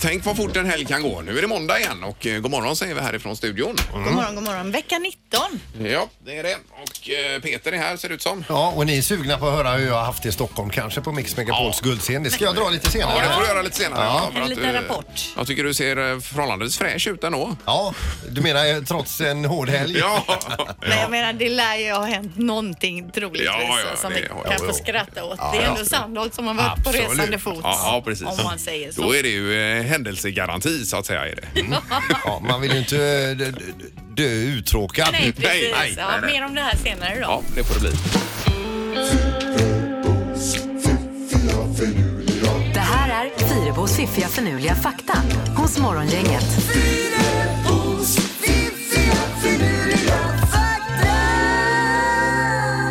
Tänk vad fort en helg kan gå. Nu är det måndag igen och eh, god morgon säger vi härifrån studion. God morgon, god morgon. Vecka 19. Ja, det är det. Och eh, Peter är här ser det ut som. Mm. Ja, och ni är sugna på att höra hur jag har haft det i Stockholm kanske på Mix Megapols guldscen. Det ska jag dra lite Ja, det får senare. du göra lite senare. Ja. för En att, liten eh, rapport. Jag tycker du ser eh, förhållandevis fräsch ut ändå. Ja, du menar eh, trots en hård helg? Ja, Men jag menar, det lär ju ha hänt någonting troligtvis alltså, Ja, ja, som det vi har- kan jo, få jo. skratta åt. Ja, det är ja. ändå Sandholt som har varit Absolut. på resande fot. ja, ja precis. Om man säger så. Då är det ju eh, händelsegaranti så att säga. Är det. Mm. Ja, man vill ju inte eh, d- d- dö uttråkad. Nej, precis. Nej, nej, ja, nej, nej. Mer om det här senare då. Ja, det får det bli. Det här är Fyrabos fiffiga förnuliga fakta hos Morgongänget.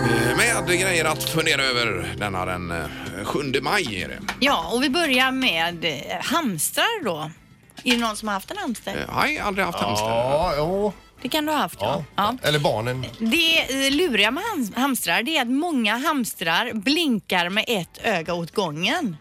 Eh, Med grejer att fundera över denna den eh, 7 maj är det. Ja, och vi börjar med eh, hamstrar då. Är det någon som har haft en hamster? Eh, Nej, aldrig haft hamster. Ja, jo. Det kan du ha haft Ja. ja. ja. Eller barnen. Det eh, luriga med ham- hamstrar det är att många hamstrar blinkar med ett öga åt gången.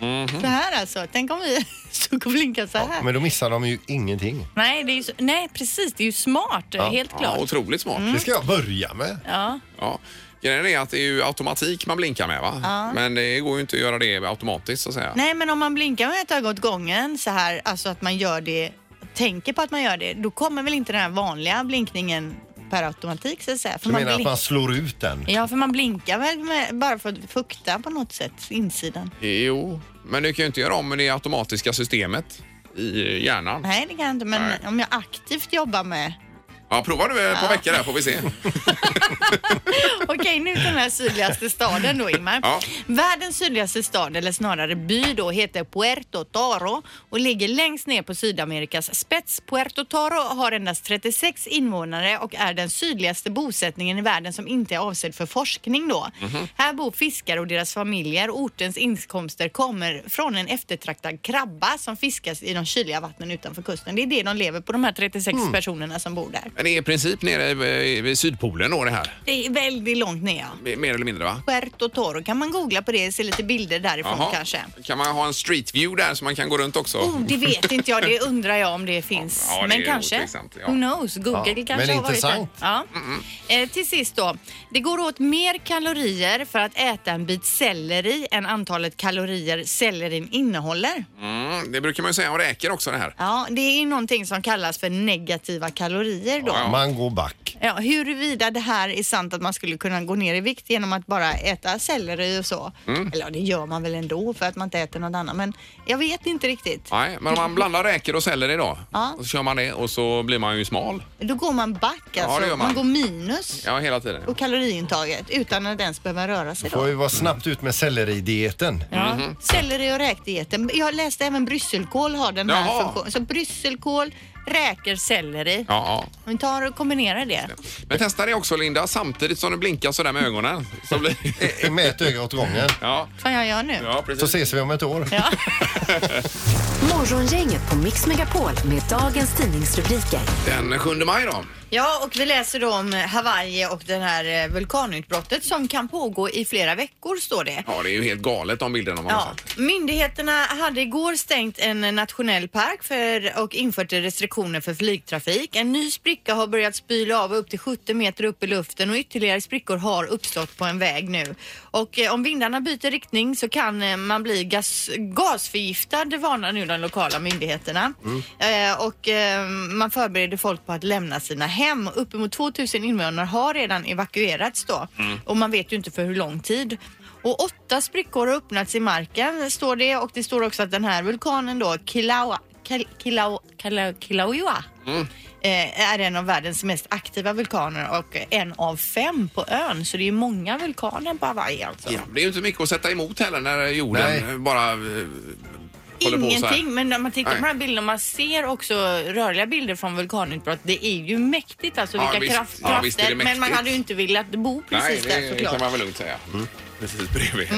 Mhm. Så här alltså. Tänk om vi stod och blinkade så här. Men då missar de ju ingenting. Nej, det är ju, så- nej, precis. Det är ju smart. Helt Ja, klart. otroligt smart. Det ska jag börja med. Ja. Ja. Grejen är att det är ju automatik man blinkar med va? Men det går ju inte att göra det automatiskt så att säga. Nej, men om man blinkar med ett öga åt gången så här, alltså att man gör det, tänker på att man gör det, då kommer väl inte den här vanliga blinkningen per automatik så att säga. För Du man menar att blink- man slår ut den? Ja, för man blinkar väl med, bara för att fukta på något sätt, insidan. Jo, men du kan ju inte göra om med det automatiska systemet i hjärnan. Nej, det kan jag inte, men Nej. om jag aktivt jobbar med... Ja, prova du ett par veckor där får vi se. Okej, nu till den här sydligaste staden då, Ingmar. Ja. Världens sydligaste stad, eller snarare by då, heter Puerto Toro och ligger längst ner på Sydamerikas spets. Puerto Toro har endast 36 invånare och är den sydligaste bosättningen i världen som inte är avsedd för forskning då. Här bor fiskare och deras familjer. Ortens inkomster kommer från en eftertraktad krabba som fiskas i de kyliga vattnen utanför kusten. Det är det de lever på, de här 36 personerna som bor där. Men det är i princip nere i- i- vid Sydpolen då det här. Det är väldigt långt ner. ja. M- Mer eller mindre va? Puerto Toro. Kan man googla på det? Se lite bilder därifrån Jaha. kanske. Kan man ha en street view där så man kan gå runt också? Oh, det vet inte jag. Det undrar jag om det finns. Ja, det är men kanske. otveksamt, ja. Mm, Who knows? Google Ja, kanske men har varit där. intressant. Ja. Eh, till sist då. Det går åt mer kalorier för att äta en bit selleri än antalet kalorier sellerin innehåller. Mm, det brukar man ju säga om räkor också det här. Ja, det är ju någonting som kallas för negativa kalorier då. Ja. Man går back. Ja, huruvida det här är sant att man skulle kunna gå ner i vikt genom att bara äta selleri och så. Mm. Eller ja, det gör man väl ändå för att man inte äter något annat. Men jag vet inte riktigt. Nej, men om man blandar räkor och selleri då. Ja. Och så kör man det och så blir man ju smal. Då går man back alltså. det gör man. man. går minus Ja, hela tiden. på kaloriintaget utan att ens behöva röra sig Får då. ju vara snabbt ut med selleridieten. Ja. Mhm. Selleri och räkdieten. Jag läste även brysselkål har den här Jaha. funktionen. Så brysselkål, räkor, selleri. Ja, ja. Om vi tar och kombinerar det. Men testa det också Linda, samtidigt som du blinkar sådär med ögonen. Så blir... I- Med ett öga åt gången. ja. Som jag gör nu. ja, Så precis. ses vi om ett år. Ja. Morgongänget på Mix Megapol med dagens tidningsrubriker. Den 7 maj då. Ja, och vi läser då om Hawaii och det här eh, vulkanutbrottet som kan pågå i flera veckor, står det. Ja, det är ju helt galet de bilderna man Ja. har sett. Myndigheterna hade igår stängt en nationell park för, och infört restriktioner för flygtrafik. En ny spricka har börjat spyla av upp till 70 meter upp i luften och ytterligare sprickor har uppstått på en väg nu. Och eh, om vindarna byter riktning så kan eh, man bli gas, gasförgiftad, varnar nu de lokala myndigheterna. Mm. Eh, och eh, man förbereder folk på att lämna sina hem. Uppemot 2000 invånare har redan evakuerats då Mm. och man vet ju inte för hur lång tid. Och åtta sprickor har öppnats i marken står det och det står också att den här vulkanen då, Kilauea, Kil- Kilau, Kilau, Kilauea Mm. eh, är en av världens mest aktiva vulkaner och en av fem på ön. Så det är ju många vulkaner på Hawaii alltså. Ja, det är ju inte mycket att sätta emot heller när jorden Nej. bara eh, håller på så här. Ingenting, men när man tittar Nej. på de här bilderna, man ser också rörliga bilder från vulkanutbrott. Det är ju mäktigt alltså, Ja, vilka visst. kraft, Ja, krafter. visst är det men man mäktigt. hade ju inte velat bo precis Nej, där det kan såklart. Mm. man väl lugnt säga. Precis bredvid.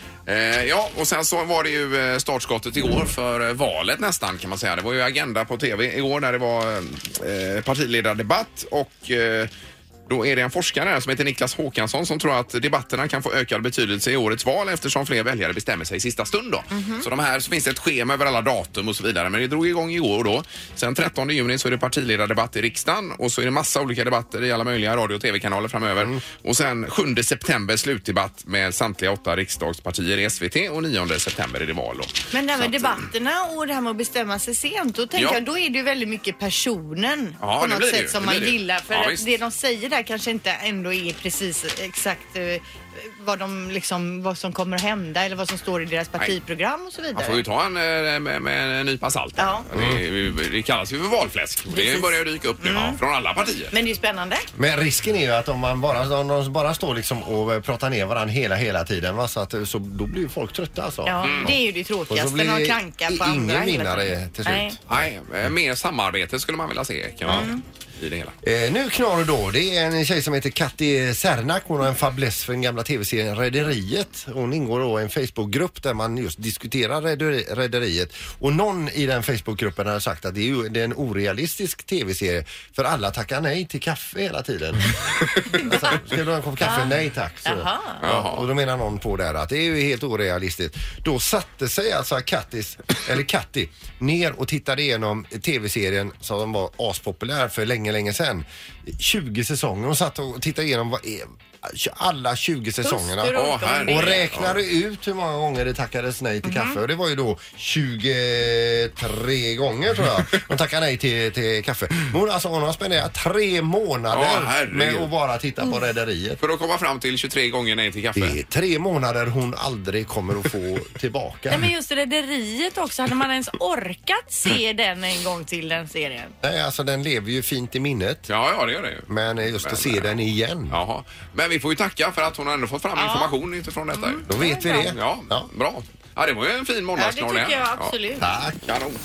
Eh, ja, och sen så var det ju eh, startskottet igår för eh, valet nästan kan man säga. Det var ju Agenda på TV igår när det var eh, partiledardebatt och eh, Då är det en forskare här som heter Niklas Håkansson som tror att debatterna kan få ökad betydelse i årets val eftersom fler väljare bestämmer sig i sista stund. Då. Mhm. Så de här så finns det ett schema över alla datum och så vidare. Men det drog igång igår då. Sen 13 juni så är det partiledardebatt i riksdagen och så är det massa olika debatter i alla möjliga radio och tv-kanaler framöver. Mm. Och sen 7 september slutdebatt med samtliga åtta riksdagspartier i SVT och 9 september är det val. Då. Men det här Så med att- eh, debatterna och det här med att bestämma sig sent, då tänker Ja. jag då är det ju väldigt mycket personen Ja, på det något blir det sätt ju. som Det man blir det ju. gillar. För Ja, att visst. det de säger där kanske inte ändå är precis exakt eh, vad, de liksom, vad som kommer att hända eller vad som står i deras partiprogram och så Man får ju vidare. ta en eh, med, med en nypa salt. Ja. Det, det kallas ju för valfläsk. Och Det Precis. Mm. börjar dyka upp nu ja, från alla partier. Men det är ju spännande. Men risken är ju att om man bara, om de bara står liksom och eh, pratar ner varandra hela, hela tiden va? Så, att, eh, så då blir ju folk trötta alltså. Ja, Mm. Det är ju det Och så tråkigaste blir när de det klankar på ingen andra. hela vinnare tiden. till slut. Nej. Mm. Nej, eh, mer samarbete skulle man vilja se kan jag, i det hela. Eh, nu knorr då. Det är en tjej som heter Katti Sernak. Hon har en fäbless för den gamla tv-serien Rederiet. Hon ingår då i en Facebookgrupp där man just diskuterar Rederi- Rederiet. Och någon i den Facebookgruppen har sagt att det är, ju, det är en orealistisk tv-serie för alla tackar nej till kaffe hela tiden. alltså, ska du ha en kopp kaffe? Nej tack. Så. Jaha. Ja, och då menar någon på där att det är ju helt orealistiskt. Då satte sig alltså Kattis, eller Katti ner och tittade igenom tv-serien som var aspopulär för länge, länge sedan. 20 säsonger. Hon satt och tittade igenom vad är, alla 20 säsongerna. Hustrur och Åh, herregud. Och räknade ut hur många gånger det tackades nej till kaffe och det var ju då 23 gånger tror jag. De tackade nej till, till kaffe. Men hon, alltså, hon har spenderat tre månader Åh, herregud. med att bara titta på Rederiet. För att komma fram till 23 gånger nej till kaffe. Det är tre månader hon aldrig kommer att få tillbaka. Nej, men just Rederiet också, hade man ens orkat se den en gång till den serien? Nej, alltså den lever ju fint i minnet. Ja, ja, det gör det ju. Men eh, just att se den igen. Jaha. Men vi får ju tacka för att hon har ändå fått fram information utifrån detta. ju. Då vet vi det. Ja, Ja. bra. Ja, det var ju en fin Mm. Ja, det måndagsknorr tycker jag absolut. Tack. Ja, kanon.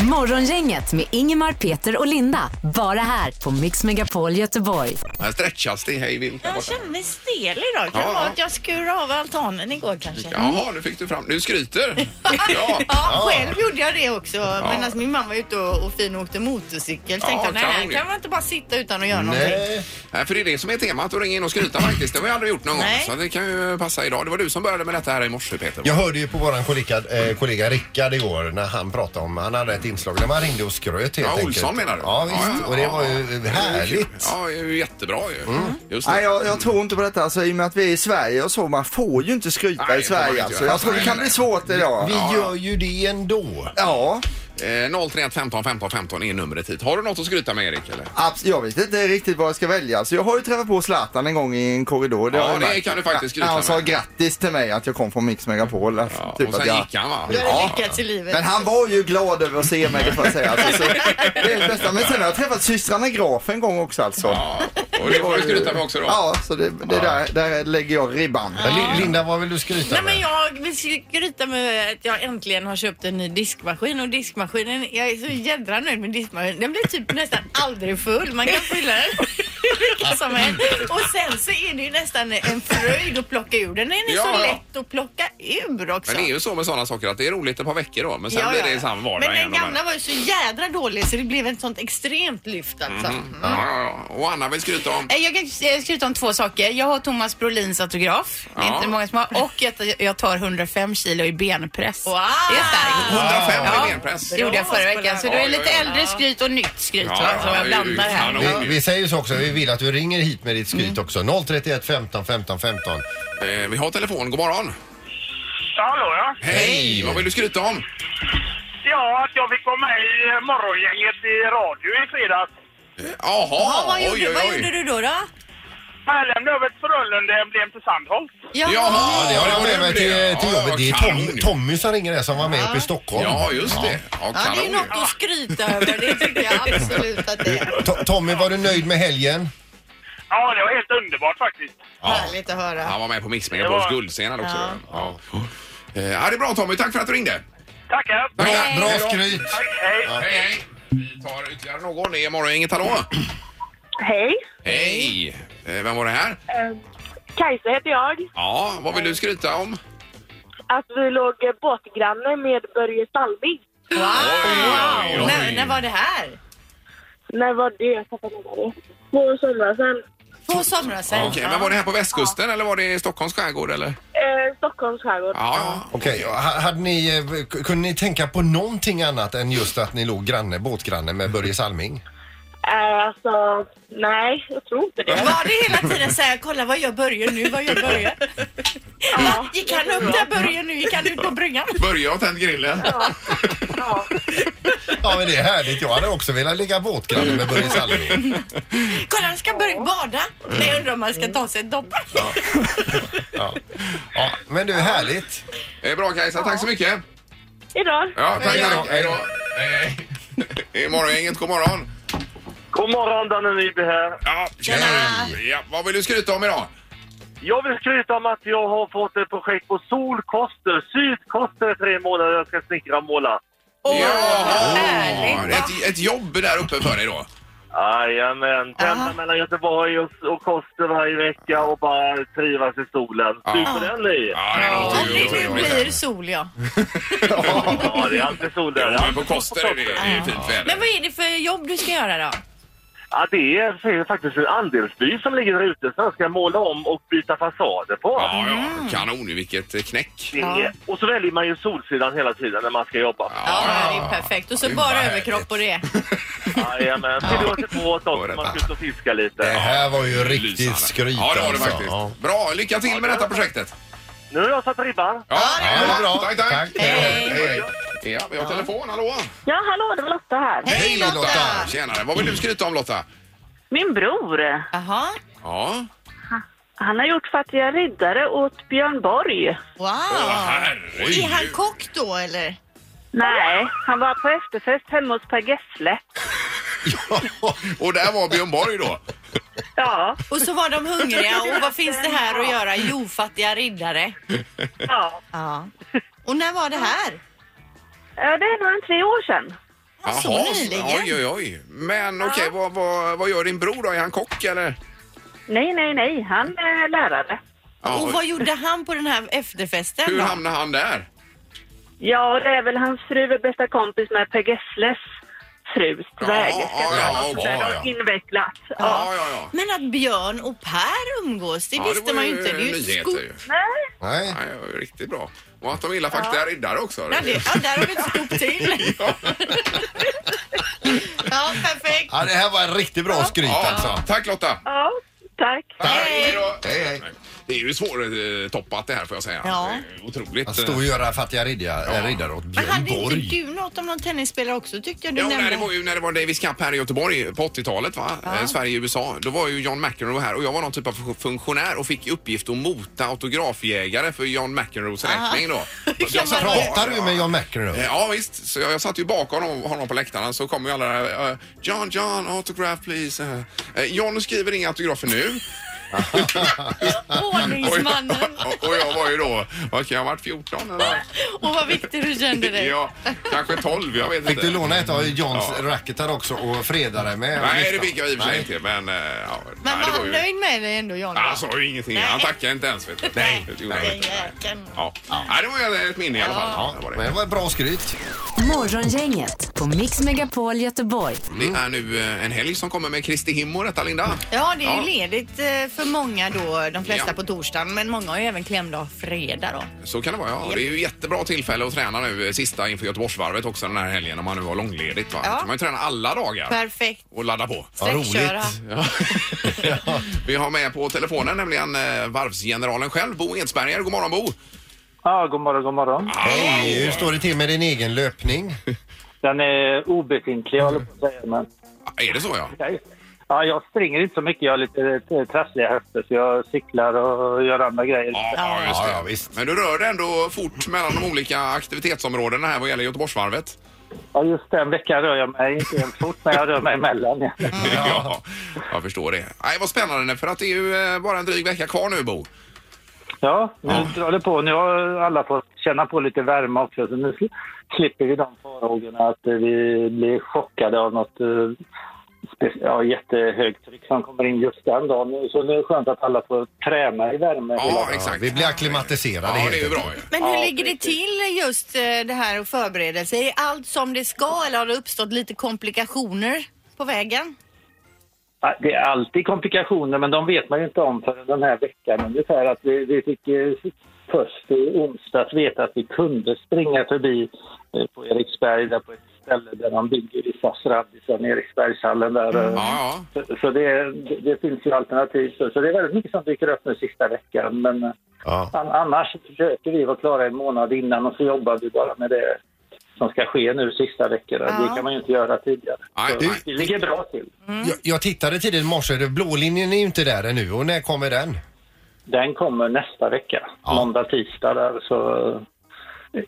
Morgongänget med Ingemar, Peter och Linda. Bara här på Mix Megapol Göteborg. Här stretchas det hej vilt där Jag borta. känner mig stel idag. Ja, Kan det vara ja. att jag skur av altanen igår kanske? Jaha, nu fick du fram... Du skryter! Ja. Ja, själv gjorde jag det också. Medan min mamma var ute och, och fin och åkte motorcykel. Tänkte jag, nej, kanon här ju. kan man inte bara sitta utan att göra någonting. Nej. Nej, för det är det som är temat, att ringa in och skryta faktiskt. Det har vi aldrig gjort någon Nej. gång. Så det kan ju passa idag. Det var du som började med detta här i morse Peter. Jag hörde ju på våran kollega, eh, kollega Rickard igår när han pratade om, han hade ett inslag där man ringde och skröt helt Ja, enkelt. Olsson menar du? Ja, visst. och det var ju ja. härligt. Ja, det är ju jättebra ju. Mm. Just det. Nej, jag, jag tror inte på detta alltså, i och med att vi är i Sverige och så. Man får ju inte skryta Nej, i det får man inte Sverige alltså. göra. Jag tror det kan bli svårt idag. Vi gör ju det ändå. Ja, Eh, 031 15 15 15 är numret hit. Har du något att skryta med Erik? Eller? abs- jag vet inte riktigt vad jag ska välja. Så jag har ju träffat på Zlatan en gång i en korridor. Ja, har jag det märkt. kan du faktiskt skryta Ja, Han sa med. grattis till mig att jag kom från Mix Megapol. Ja, typ och att sen jag... gick han va? Du hade Ja. lyckats i livet. Men han var ju glad över att se mig, det får jag säga. Alltså, så, det är det bästa. Men sen har jag träffat systrarna Graf en gång också alltså. Ja, och det får du skryta med också då. Ja, så det, det Där, där lägger jag ribban. Men Li- Linda, vad vill du skryta Nej, men med? jag vill skryta med att jag äntligen har köpt en ny diskmaskin och diskmaskinen, jag är så jädra nöjd med diskmaskinen. Den blir typ nästan aldrig full. Man kan fylla den hur mycket som helst. Och sen så är det ju nästan en fröjd att plocka ur. Den är Ja, så ja. lätt att plocka ur också. Men det är ju så med sådana saker att det är roligt ett par veckor då, men sen Ja, blir ja, det ja. i samma vardag Men igen. den gamla var ju så jädra dålig så det blev ett sånt extremt lyft alltså. Mm. Ja, ja, ja. Och Anna vill skryta om... Eh, Jag kan eh, skryta om två saker. Jag har Thomas Brolins autograf. Det Ja. är inte många som har. Och att jag tar 105 kilo i benpress. Wow! Det är starkt. 105 Ja. i benpress. Det gjorde jag förra veckan. Så det är Oj, lite oj, oj. äldre skryt och nytt skryt. Ja, va? ja, Så jag det är ju blandar här. kanon. Vi, vi säger så också, vi vill att du ringer hit med ditt skryt också. 031 15 15 15. Eh, Vi har telefon, god morgon. Ja, hallå ja. Hej! Vad vill du skryta om? Ja, att jag fick vara med i eh, morgongänget i radio i fredags. Eh, Jaha, Ja, vad, gjorde, oj, oj, vad oj. gjorde du då? då? Jag lämnade över ett Frölunda-emblem till Sandholt. Ja. Jaha, Ja, det har jag med mig till, till Ja, jobbet. Det är kanon. Tom, Tommy som ringer där som var med uppe i Stockholm. Ja, just det. Ja, Ja, det är kanon. ju något att skryta över. Det tycker jag absolut att det är. To- Tommy, var du nöjd med helgen? Ja, det var helt underbart faktiskt. Härligt att höra. Han var med på Mix Det Megapols var- guldscen också. Ja. Eh, Ja, det är bra Tommy. Tack för att du ringde. Tackar! Tack. Bra Hej då. skryt! Tack, hej! Hej, hej. Vi tar ytterligare någon. Det är Morgongänget. Hallå! Hej, Hej! Eh, Vem var det här? Kajsa heter jag. Ja, vad vill du skryta om? Att vi låg båtgranne med Börje Salming. Wow! oj, oj. När, när var det här? När var det? Jag tappade ner det. Två somrar sedan. På Somrasvej. Okej, men var det här på västkusten eller var det i Stockholms skärgård eller? Eh, Stockholms skärgård. Ja, ja. Okej, ha- hade ni, eh, k- kunde ni tänka på någonting annat än just att ni låg granne, båtgranne med Börje Salming? Eh, alltså, nej, jag tror inte det. Var det hela tiden så här, kolla vad jag börjar nu, vad jag börjar? Ja, Gick han upp där, börjar nu, gick han ut på bryggan? Börja och tänd grillen. ja. Ja men det är härligt, jag hade också velat ligga båtgranne med Börje Salming. Kolla han ska börja bada. Nej, jag undrar om han ska ta sig ett dopp. Ja. Ja, men du, härligt. Eh, Bra Kajsa, tack så mycket. Idag. Ja, tack. Hej då. tack. Hej då. Hej, hej. I morgongänget, god morgon. God morgon, Danne Nyby här. Ja, tjena. Ja, vad vill du skryta om idag? Jag vill skryta om att jag har fått ett projekt på solkoster. Sydkoster i tre månader jag ska snickra och måla. Jaha! härligt. Ett, ett jobb där uppe för dig då. Jajamän. Pendla mellan Göteborg och, och Koster varje vecka och bara trivas i solen. Sug på den ni! Ja, det Om låter ju det nu otroligt. blir sol ja. Ja, det är alltid sol där. Ja, men på Koster är det, det är ju fint väder. Men vad är det för jobb du ska göra då? Ja, det är det är faktiskt en andelsby som ligger där ute som jag ska måla om och byta fasader på. Ja, ja, Mm. kanon ju. Vilket knäck. Det är- Och så väljer man ju solsidan hela tiden när man ska jobba. Ja, det är perfekt. Och så det är bara härligt. överkropp och det. Jajamän. Till du till två åt Då är det oss man ska ut och fiska Det lite. här var ju Lysande. riktigt skryt Ja, det var det alltså. faktiskt. Ja. Bra, lycka till med detta projektet. Nu har jag satt ribban. Ja, det var bra. Tack, tack. Tack. Hej. Hej. Ja, vi har telefon. Hallå! Ja, hallå, det var Lotta här. Hej Lotta! Tjenare. Vad vill du skryta om Lotta? Min bror, Jaha. Ja. han har gjort Fattiga riddare åt Björn Borg. Wow. Är han herregud. kock då eller? Nej, han var på efterfest hemma hos Per Gessle. Och där var Björn Borg då. Ja, Och så var de hungriga och vad finns det här att göra? Jo, fattiga riddare. ja. Ja. Och när var det här? Eh, Det är nog en tre år sedan. Ja, så nyligen. oj, oj, oj. Men okej, vad, vad, vad gör din bror då? Är han kock eller? Nej, nej, nej, han är lärare. Ja, Och vad gjorde han på den här efterfesten hur då? hamnade han där? Ja, det är väl hans fru är bästa kompis med Per Gessles frus tvägerska. ja, ja, Något ja, sådär ja. Invecklat. Ja. Ja, ja, ja. Men att Björn och Per umgås, det Ja, visste var man ju ju inte. Det är ju ett nyheter scoop. ju. Nej, Nej. Nej, det var ju riktigt bra. Och att de gillar faktiskt är riddare också. Ja, det, ja, där har vi ett scoop till. Ja. Ja, perfekt. Ja, det här var en riktigt bra skryt Ja, alltså. tack Lotta! ja, tack. Tack, hej då. Hej, hej. Det är ju svårtoppat det här får jag säga. Ja. Det är Otroligt. Att stå och göra fattiga ridda- Ja. riddare åt Men Björn hade inte Borg. du något om någon tennisspelare också tyckte jag du Ja, nämnde? när det var ju när det var Davis Cup här i Göteborg på 80-talet, va? Eh, Sverige och USA. Då var ju John McEnroe här och jag var någon typ av fun- funktionär och fick i uppgift att mota autografjägare för John McEnroes räkning då. Jag satt bak- Pratar du med John Eh, McEnroe? Ja visst, så jag, jag satt ju bakom honom, honom på läktaren så kom ju alla där, eh, John, John, autograph please. Eh, eh, John skriver inga autografer nu. Och jag, Ordningsmannen. och, och jag var ju då, vad kan jag ha varit, 14 eller? Och vad viktig du kände dig. Ja, kanske 12, jag vet inte. Fick du låna ett av Johns Ja. racketar också och freda dig med? Nej, det fick jag i och för sig Nej. inte. Men, eh, ja, Men nej, var det han ju... nöjd med dig ändå, John? Han sa ju ingenting. Han Nej. tackade inte ens. Vet du. Nej. Det gjorde han Den inte. jäkeln. Ja. Nej, det var ju ett minne i alla fall. Ja, det, var Men det. det var ett bra skryt. Morgongänget på Mix Megapol Göteborg. det är nu eh, en helg som kommer med Kristi Himmo, och detta Linda. Ja, det är ju Ja. ledigt eh, för många då, de flesta Ja. på torsdagen. Men många har ju även klämdag fredag då. Så kan det vara. Ja. Det är ju jättebra tillfälle att träna nu eh, sista inför Göteborgsvarvet också den här helgen om man nu har långledigt. Va? Ja. Då kan man ju träna alla dagar Perfekt. och ladda på. Sträckköra. Ja. Vi har med på telefonen nämligen eh, varvsgeneralen själv, Bo Edsberger. God morgon Bo! Ja, god morgon, god morgon. Hej, hur står det till med din egen löpning? Den är obefintlig, jag håller på att säga. Men... Är det så ja? Okej. Ja, jag springer inte så mycket. Jag har lite eh, trassliga höfter, så jag cyklar och gör andra grejer. Ja, ja, just det. Ja, ja, visst. Men du rör dig ändå fort mellan de olika aktivitetsområdena här vad gäller Göteborgsvarvet. Ja, just den veckan rör jag mig inte ens fort, men jag rör mig emellan. Ja. Ja. jag förstår det. Nej, vad spännande för att det är ju eh, bara en dryg vecka kvar nu Bo. Ja, nu Ja. drar det på. Nu har alla fått känna på lite värme också, så nu sl- slipper vi de farhågorna att eh, vi blir chockade av något eh, spe- ja, jättehögt tryck som kommer in just den dagen. Nu- Så nu är det skönt att alla får träna i värme. hela- Ja, vi blir akklimatiserade Ja, helt det är ju enkelt. bra ju. Men hur ligger det till just eh, det här och förberedelse? Är allt som det ska eller har det uppstått lite komplikationer på vägen? Ja, Det är alltid komplikationer, men de vet man ju inte om förrän den här veckan ungefär. Att vi, vi fick eh, först i onsdags veta att vi kunde springa förbi eh, på Eriksberg, där på ett ställe där de bygger i Sasradisen, Eriksbergshallen där. eh, Ja, Mm. ja. Så, så det, det finns ju alternativ. Så, så det är väldigt mycket som dyker upp nu sista veckan. Men eh, Ja. an, annars försöker vi vara klara en månad innan och så jobbar vi bara med det som ska ske nu sista veckorna. Det kan man ju inte göra tidigare. Nej, så, nej. vi ligger bra till. Jag, jag tittade tidigt i morse, det- blålinjen är ju inte där ännu och när kommer den? Den kommer nästa vecka, måndag, tisdag där. Så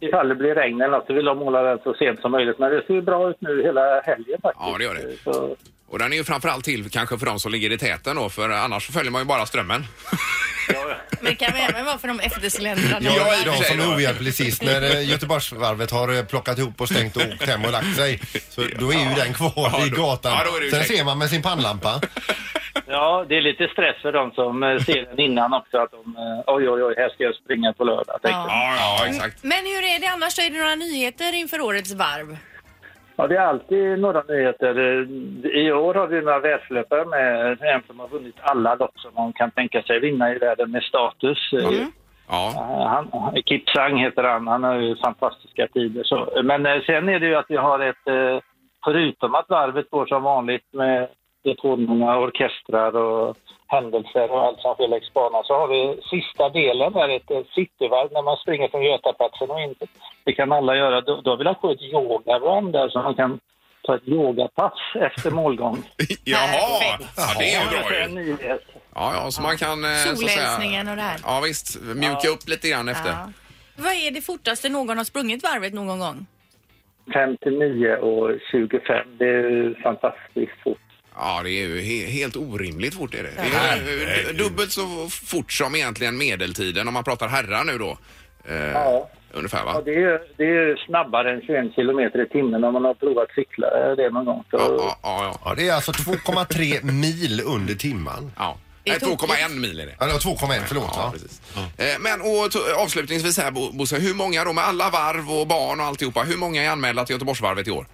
ifall det blir regn eller något så vill de måla den så sent som möjligt. Men det ser ju bra ut nu hela helgen faktiskt. Ja, det gör det. Så, Och den är ju framförallt till kanske för de som ligger i täten då, för annars så följer man ju bara strömmen. Men det kan även vara för de eftersläntrande. Ja, Jag i och är för de sig som då. är ohjälplig sist när eh, Göteborgsvarvet har eh, plockat ihop och stängt och åkt hem och lagt sig. Så då är ju den Ja, kvar i då- gatan. ja, då är det ju Sen säkert. ser man med sin pannlampa. ja, det är lite stress för de som eh, ser den innan också. Att de, eh, oj, oj, oj, här ska jag springa på lördag. tänkte jag. Ja, ja, exakt. Men hur är det annars? Är det några nyheter inför årets Eh, varv? Ja, det är alltid några nyheter. Eh, I år har vi några världslöpare med. En som har vunnit alla lopp som man kan tänka sig vinna i världen med status. Eh, Ja, Han, Kipsang heter han. Han har ju fantastiska tider. Så. Men eh, sen är det ju att vi har ett... eh, Förutom att varvet går som vanligt med detonmånga orkestrar och händelser och allt som sker längs banan så har vi sista delen där, ett eh, cityvarv när man springer från Götaplatsen och in. Det kan alla göra. Då, då vill jag få ett yogarun där så man kan ta ett yogapass efter målgång. jaha. Ja, det är ju bra Det är ju. en nyhet. Ja, ja, så man kan... eh, så att säga- Solhälsningen och det här. Ja, visst. Mjuka upp lite grann efter. Ja. Vad är det fortaste någon har sprungit varvet någon gång? 59 och 25, det är ju fantastiskt fort. Ja, det är ju he helt orimligt fort är det. Det är ju dubbelt så fort som egentligen medeltiden om man pratar herrar nu då. Eh, Ja. Ungefär Ja, va? det, är, det är snabbare än 21 kilometer i timmen om man har provat cykla eh, det någon gång. Så, Ja, ja, ja. ja. Ja, det är alltså 2,3 mil under timman. ja. Det är Nej, 2,1 mil är det. Eller 2,1 förlåt. Ja, Ja, precis. Eh, Men och to- avslutningsvis här Bo- Bosse, hur många då med alla varv och barn och alltihopa, hur många är anmälda till Göteborgsvarvet i år?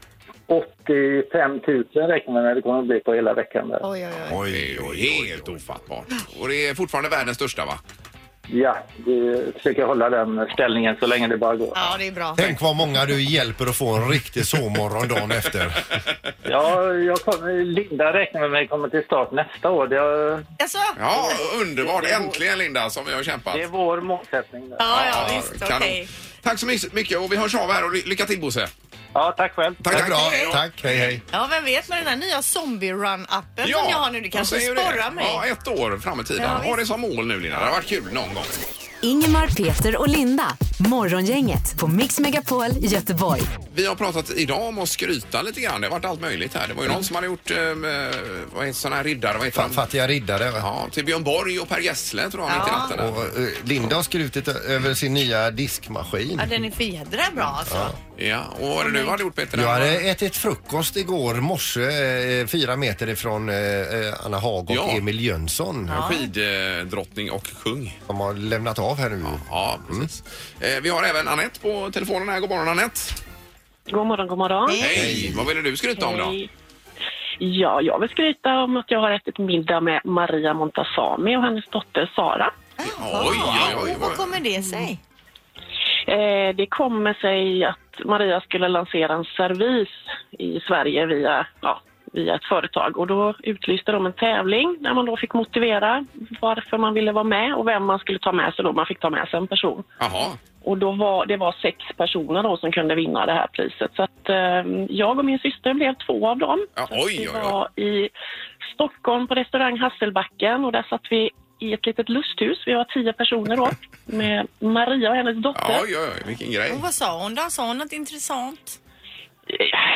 85 000 räknar man med det kommer att bli på hela veckan. Där. Oj, oj, oj. Det är ju helt ofattbart. Och det är fortfarande världens största va? Ja, vi försöker hålla den ställningen så länge det bara går. Ja, det är bra. Tänk vad många du hjälper att få en riktig sovmorgon dagen efter. Ja, jag kommer, Linda räknar med mig kommer till start nästa år. Det är, Alltså, Ja, underbart! Äntligen Linda, som vi har kämpat. det är vår målsättning. där. ja, ja, visst. kanon. Okej. Tack så my- mycket och vi hörs av här och ly- lycka till Bosse! Ja, tack själv. Tack bra. Hej då. Tack, hej hej. Ja, vem vet med den här nya zombie run-appen som jag har nu. Det jag kanske säger det. sporrar mig. Ja, ett år fram i tiden. Ja, ha visst. det som mål nu Linda, det har varit kul någon gång. Ingemar, Peter och Linda. Morgongänget på Mix Megapol i Göteborg. Vi har pratat idag om att skryta lite grann, det har varit allt möjligt här. Det var ju någon som hade gjort, eh, vad heter sån här riddare, vad heter Fa- han? Fattiga riddare. va? Ja, till Björn Borg och Per Gessle tror jag mitt i natten. där. Och eh, Linda har skrutit ö- över sin nya diskmaskin. Ja, den är för jädra bra alltså. Ja, och vad är det du hade gjort Peter? Jag hade ätit frukost igår morse eh, fyra meter ifrån eh, eh, Anna Hag och Ja. Emil Jönsson. Skiddrottning och kung. De har lämnat av här nu. Ja, precis. Eh, vi har även Annette på telefonen här. God morgon Annette. God morgon, god morgon. Hej. Vad ville du skryta om då? Hej. Ja, jag vill skryta om att jag har ätit middag med Maria Montazami och hennes dotter Sara. Oj, oj, oj. Och vad kommer det sig? Eh, det kommer sig att Maria skulle lansera en servis i Sverige via, ja, via ett företag och då utlyste de en tävling där man då fick motivera varför man ville vara med och vem man skulle ta med sig då. Man fick ta med sig en person. Jaha. Och då var, det var sex personer då som kunde vinna det här priset. Så att, eh, jag och min syster blev två av dem. Ja, Så att oj, vi oj, oj. var i Stockholm på restaurang Hasselbacken och där satt vi i ett litet lusthus. Vi var tio personer då med Maria och hennes dotter. Ja, oj, oj, oj. Vilken Och grej. vad sa hon då? Sa hon något intressant?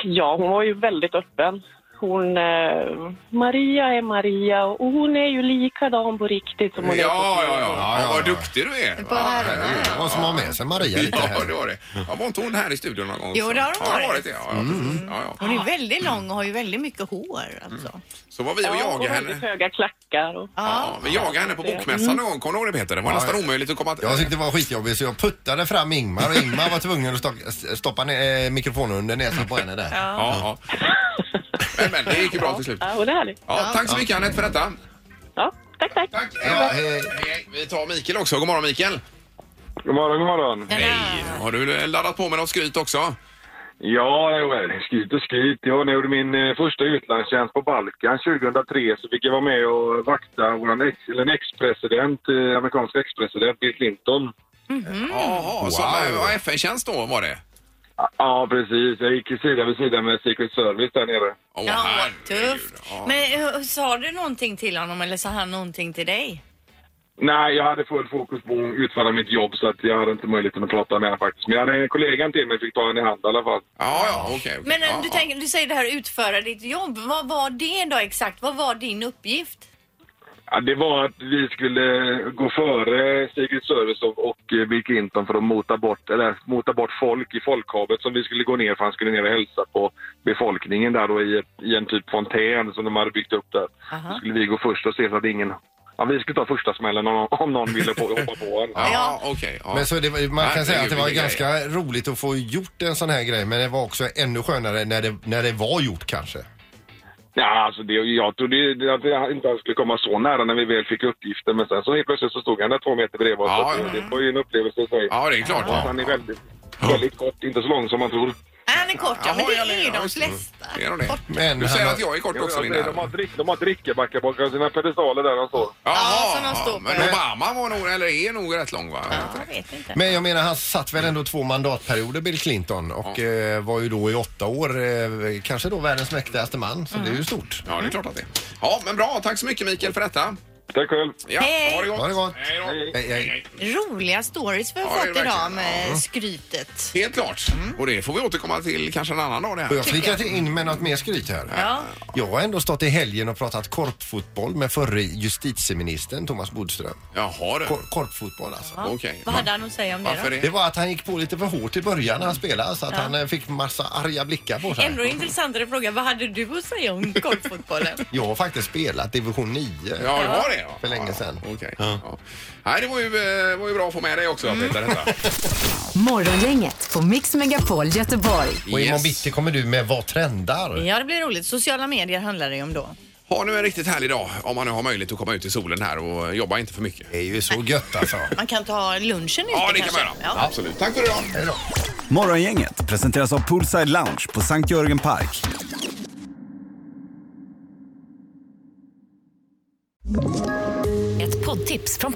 Ja, hon var ju väldigt öppen. Hon, eh, Maria är Maria och hon är ju likadan på riktigt som Ja, hon är. på ja, ja. film. ja, ja, Vad ja. duktig du är. På herrarna, herregud. Det var som att ha med sig Maria lite Ja, det här. var det. Ja, var inte hon här i studion någon gång? Jo, också? det har hon Ja, varit. det. Ja, ja, precis. ja, ja. Mm. Hon är väldigt lång och har ju väldigt mycket hår. Alltså. Så var vi och Ja, och jagade väldigt henne. höga klackar. Och, Ja, vi jagade henne på bokmässan Mm. någon gång. Kommer du ihåg det Peter? Det var Ja, nästan ja. omöjligt att komma... Jag tyckte det var skitjobbigt så jag puttade fram Ingmar och Ingmar var tvungen att stock- stoppa ner, eh, mikrofonen under näsan på henne där. Ja, ja. Men, men det gick ju bra till slut. Ja, och det är härligt. Ja, tack så mycket Anette för detta. Ja, tack, tack. Tack. Ja, hej. Hej. Vi tar Mikael också. God morgon Mikael. God morgon, god morgon. Hej. Har du eh, laddat på med något skryt också? Ja, jo, skryt och skryt. Jag gjorde min eh, första utlandstjänst på Balkan 2003 så fick jag vara med och vakta vår ex, eller en ex-president, eh, amerikansk ex-president Bill Clinton. Jaha, så Wow. var FN-tjänst då var det? Ja, precis. Jag gick sida vid sida med Secret Service där nere. Åh, Ja, herregud. tufft. Ja. Men eh, sa du någonting till honom eller sa han någonting till dig? Nej, jag hade full fokus på att utföra mitt jobb så att jag hade inte möjlighet att prata med honom faktiskt. Men jag hade en kollega till mig fick ta henne i hand i alla fall. Ja, ja, okej. okej. Men eh, ja, du, ja. tänker, du säger det här utföra ditt jobb. Vad var det då exakt? Vad var din uppgift? Ja, det var att vi skulle gå före Secret Service och, och eh, Bill Clinton för att mota bort, eller, mota bort folk i folkhavet som vi skulle gå ner för han skulle ner och hälsa på befolkningen där då i, ett, i en typ fontän som de hade byggt upp där. Då skulle vi gå först och se så att ingen... Ja, vi skulle ta första smällen om, om någon ville på, hoppa på en. Ja, ja. okej. ja. Men så det, var- man kan Herregud, säga att det var vilken ganska roligt att få gjort en sån här grej men det var också ännu skönare när det, när det var gjort kanske. Ja, alltså det, jag trodde ju att jag inte alls skulle komma så nära när vi väl fick uppgiften men sen så helt plötsligt så stod han där två meter bredvid oss. Ja, Så ja. det, det var ju en upplevelse i sig. Ja, det är klart. Han är väldigt, väldigt kort, inte så lång som man tror. Äh, Han är kort, ja, men det Jaha, ja, är ju ja, de just flesta. Det är nog det. Men Du säger han- att jag är kort Jag också, säger, Linda. de, har drick, de har drickebackar bakom sina pedestaler där de står. Ja, som de står på. men Ja. Obama var nog, eller är nog rätt lång va? Ja, jag vet inte. Men jag menar han satt väl ändå två mandatperioder Bill Clinton och eh, var ju då i åtta år eh, kanske då världens mäktigaste man så det är ju stort. Ja, det är klart att det är. Ja, men bra. Tack så mycket Mikael för detta. Tack själv. Ja, Hej. Ha det gott. Ha det gott. Eh, Hej då. Hej, hej. Roliga stories vi har Ja, det är fått verkligen. idag med skrytet. Helt klart. Och det får vi återkomma till kanske en annan dag det Och här. jag flikar in med något mer skryt här. Ja. Jag har ändå stått i helgen och pratat korpfotboll med förre justitieministern Thomas Bodström. Jaha du. Kor korpfotboll alltså. Ja. Okej. Vad hade han att säga om det Varför då? det? Det var att han gick på lite för hårt i början när han spelade så att han eh, fick massa arga blickar på sig. Ändå intressantare fråga, vad hade du att säga om golffotbollen? Jag har faktiskt spelat division 9. Ja, det var det ja. För länge sedan. Ja, Okej. Ja. Nej, det var ju, eh, var ju bra att få med dig också Peter. Mm. Detta. Morgongänget på Mix Megapol Göteborg. Och imorgon Yes. bitti kommer du med Vad trendar? ja, det blir roligt. Sociala medier handlar det ju om då. Ha nu en riktigt härlig dag om man nu har möjlighet att komma ut i solen här och jobba inte för mycket. Det är ju så gött alltså. Man kan ta lunchen ute Ja, det kan kanske. man göra. Absolut. Tack för idag. Hej då. Morgongänget presenteras av Poolside Lounge på Sankt Jörgen Park. Ett poddtips från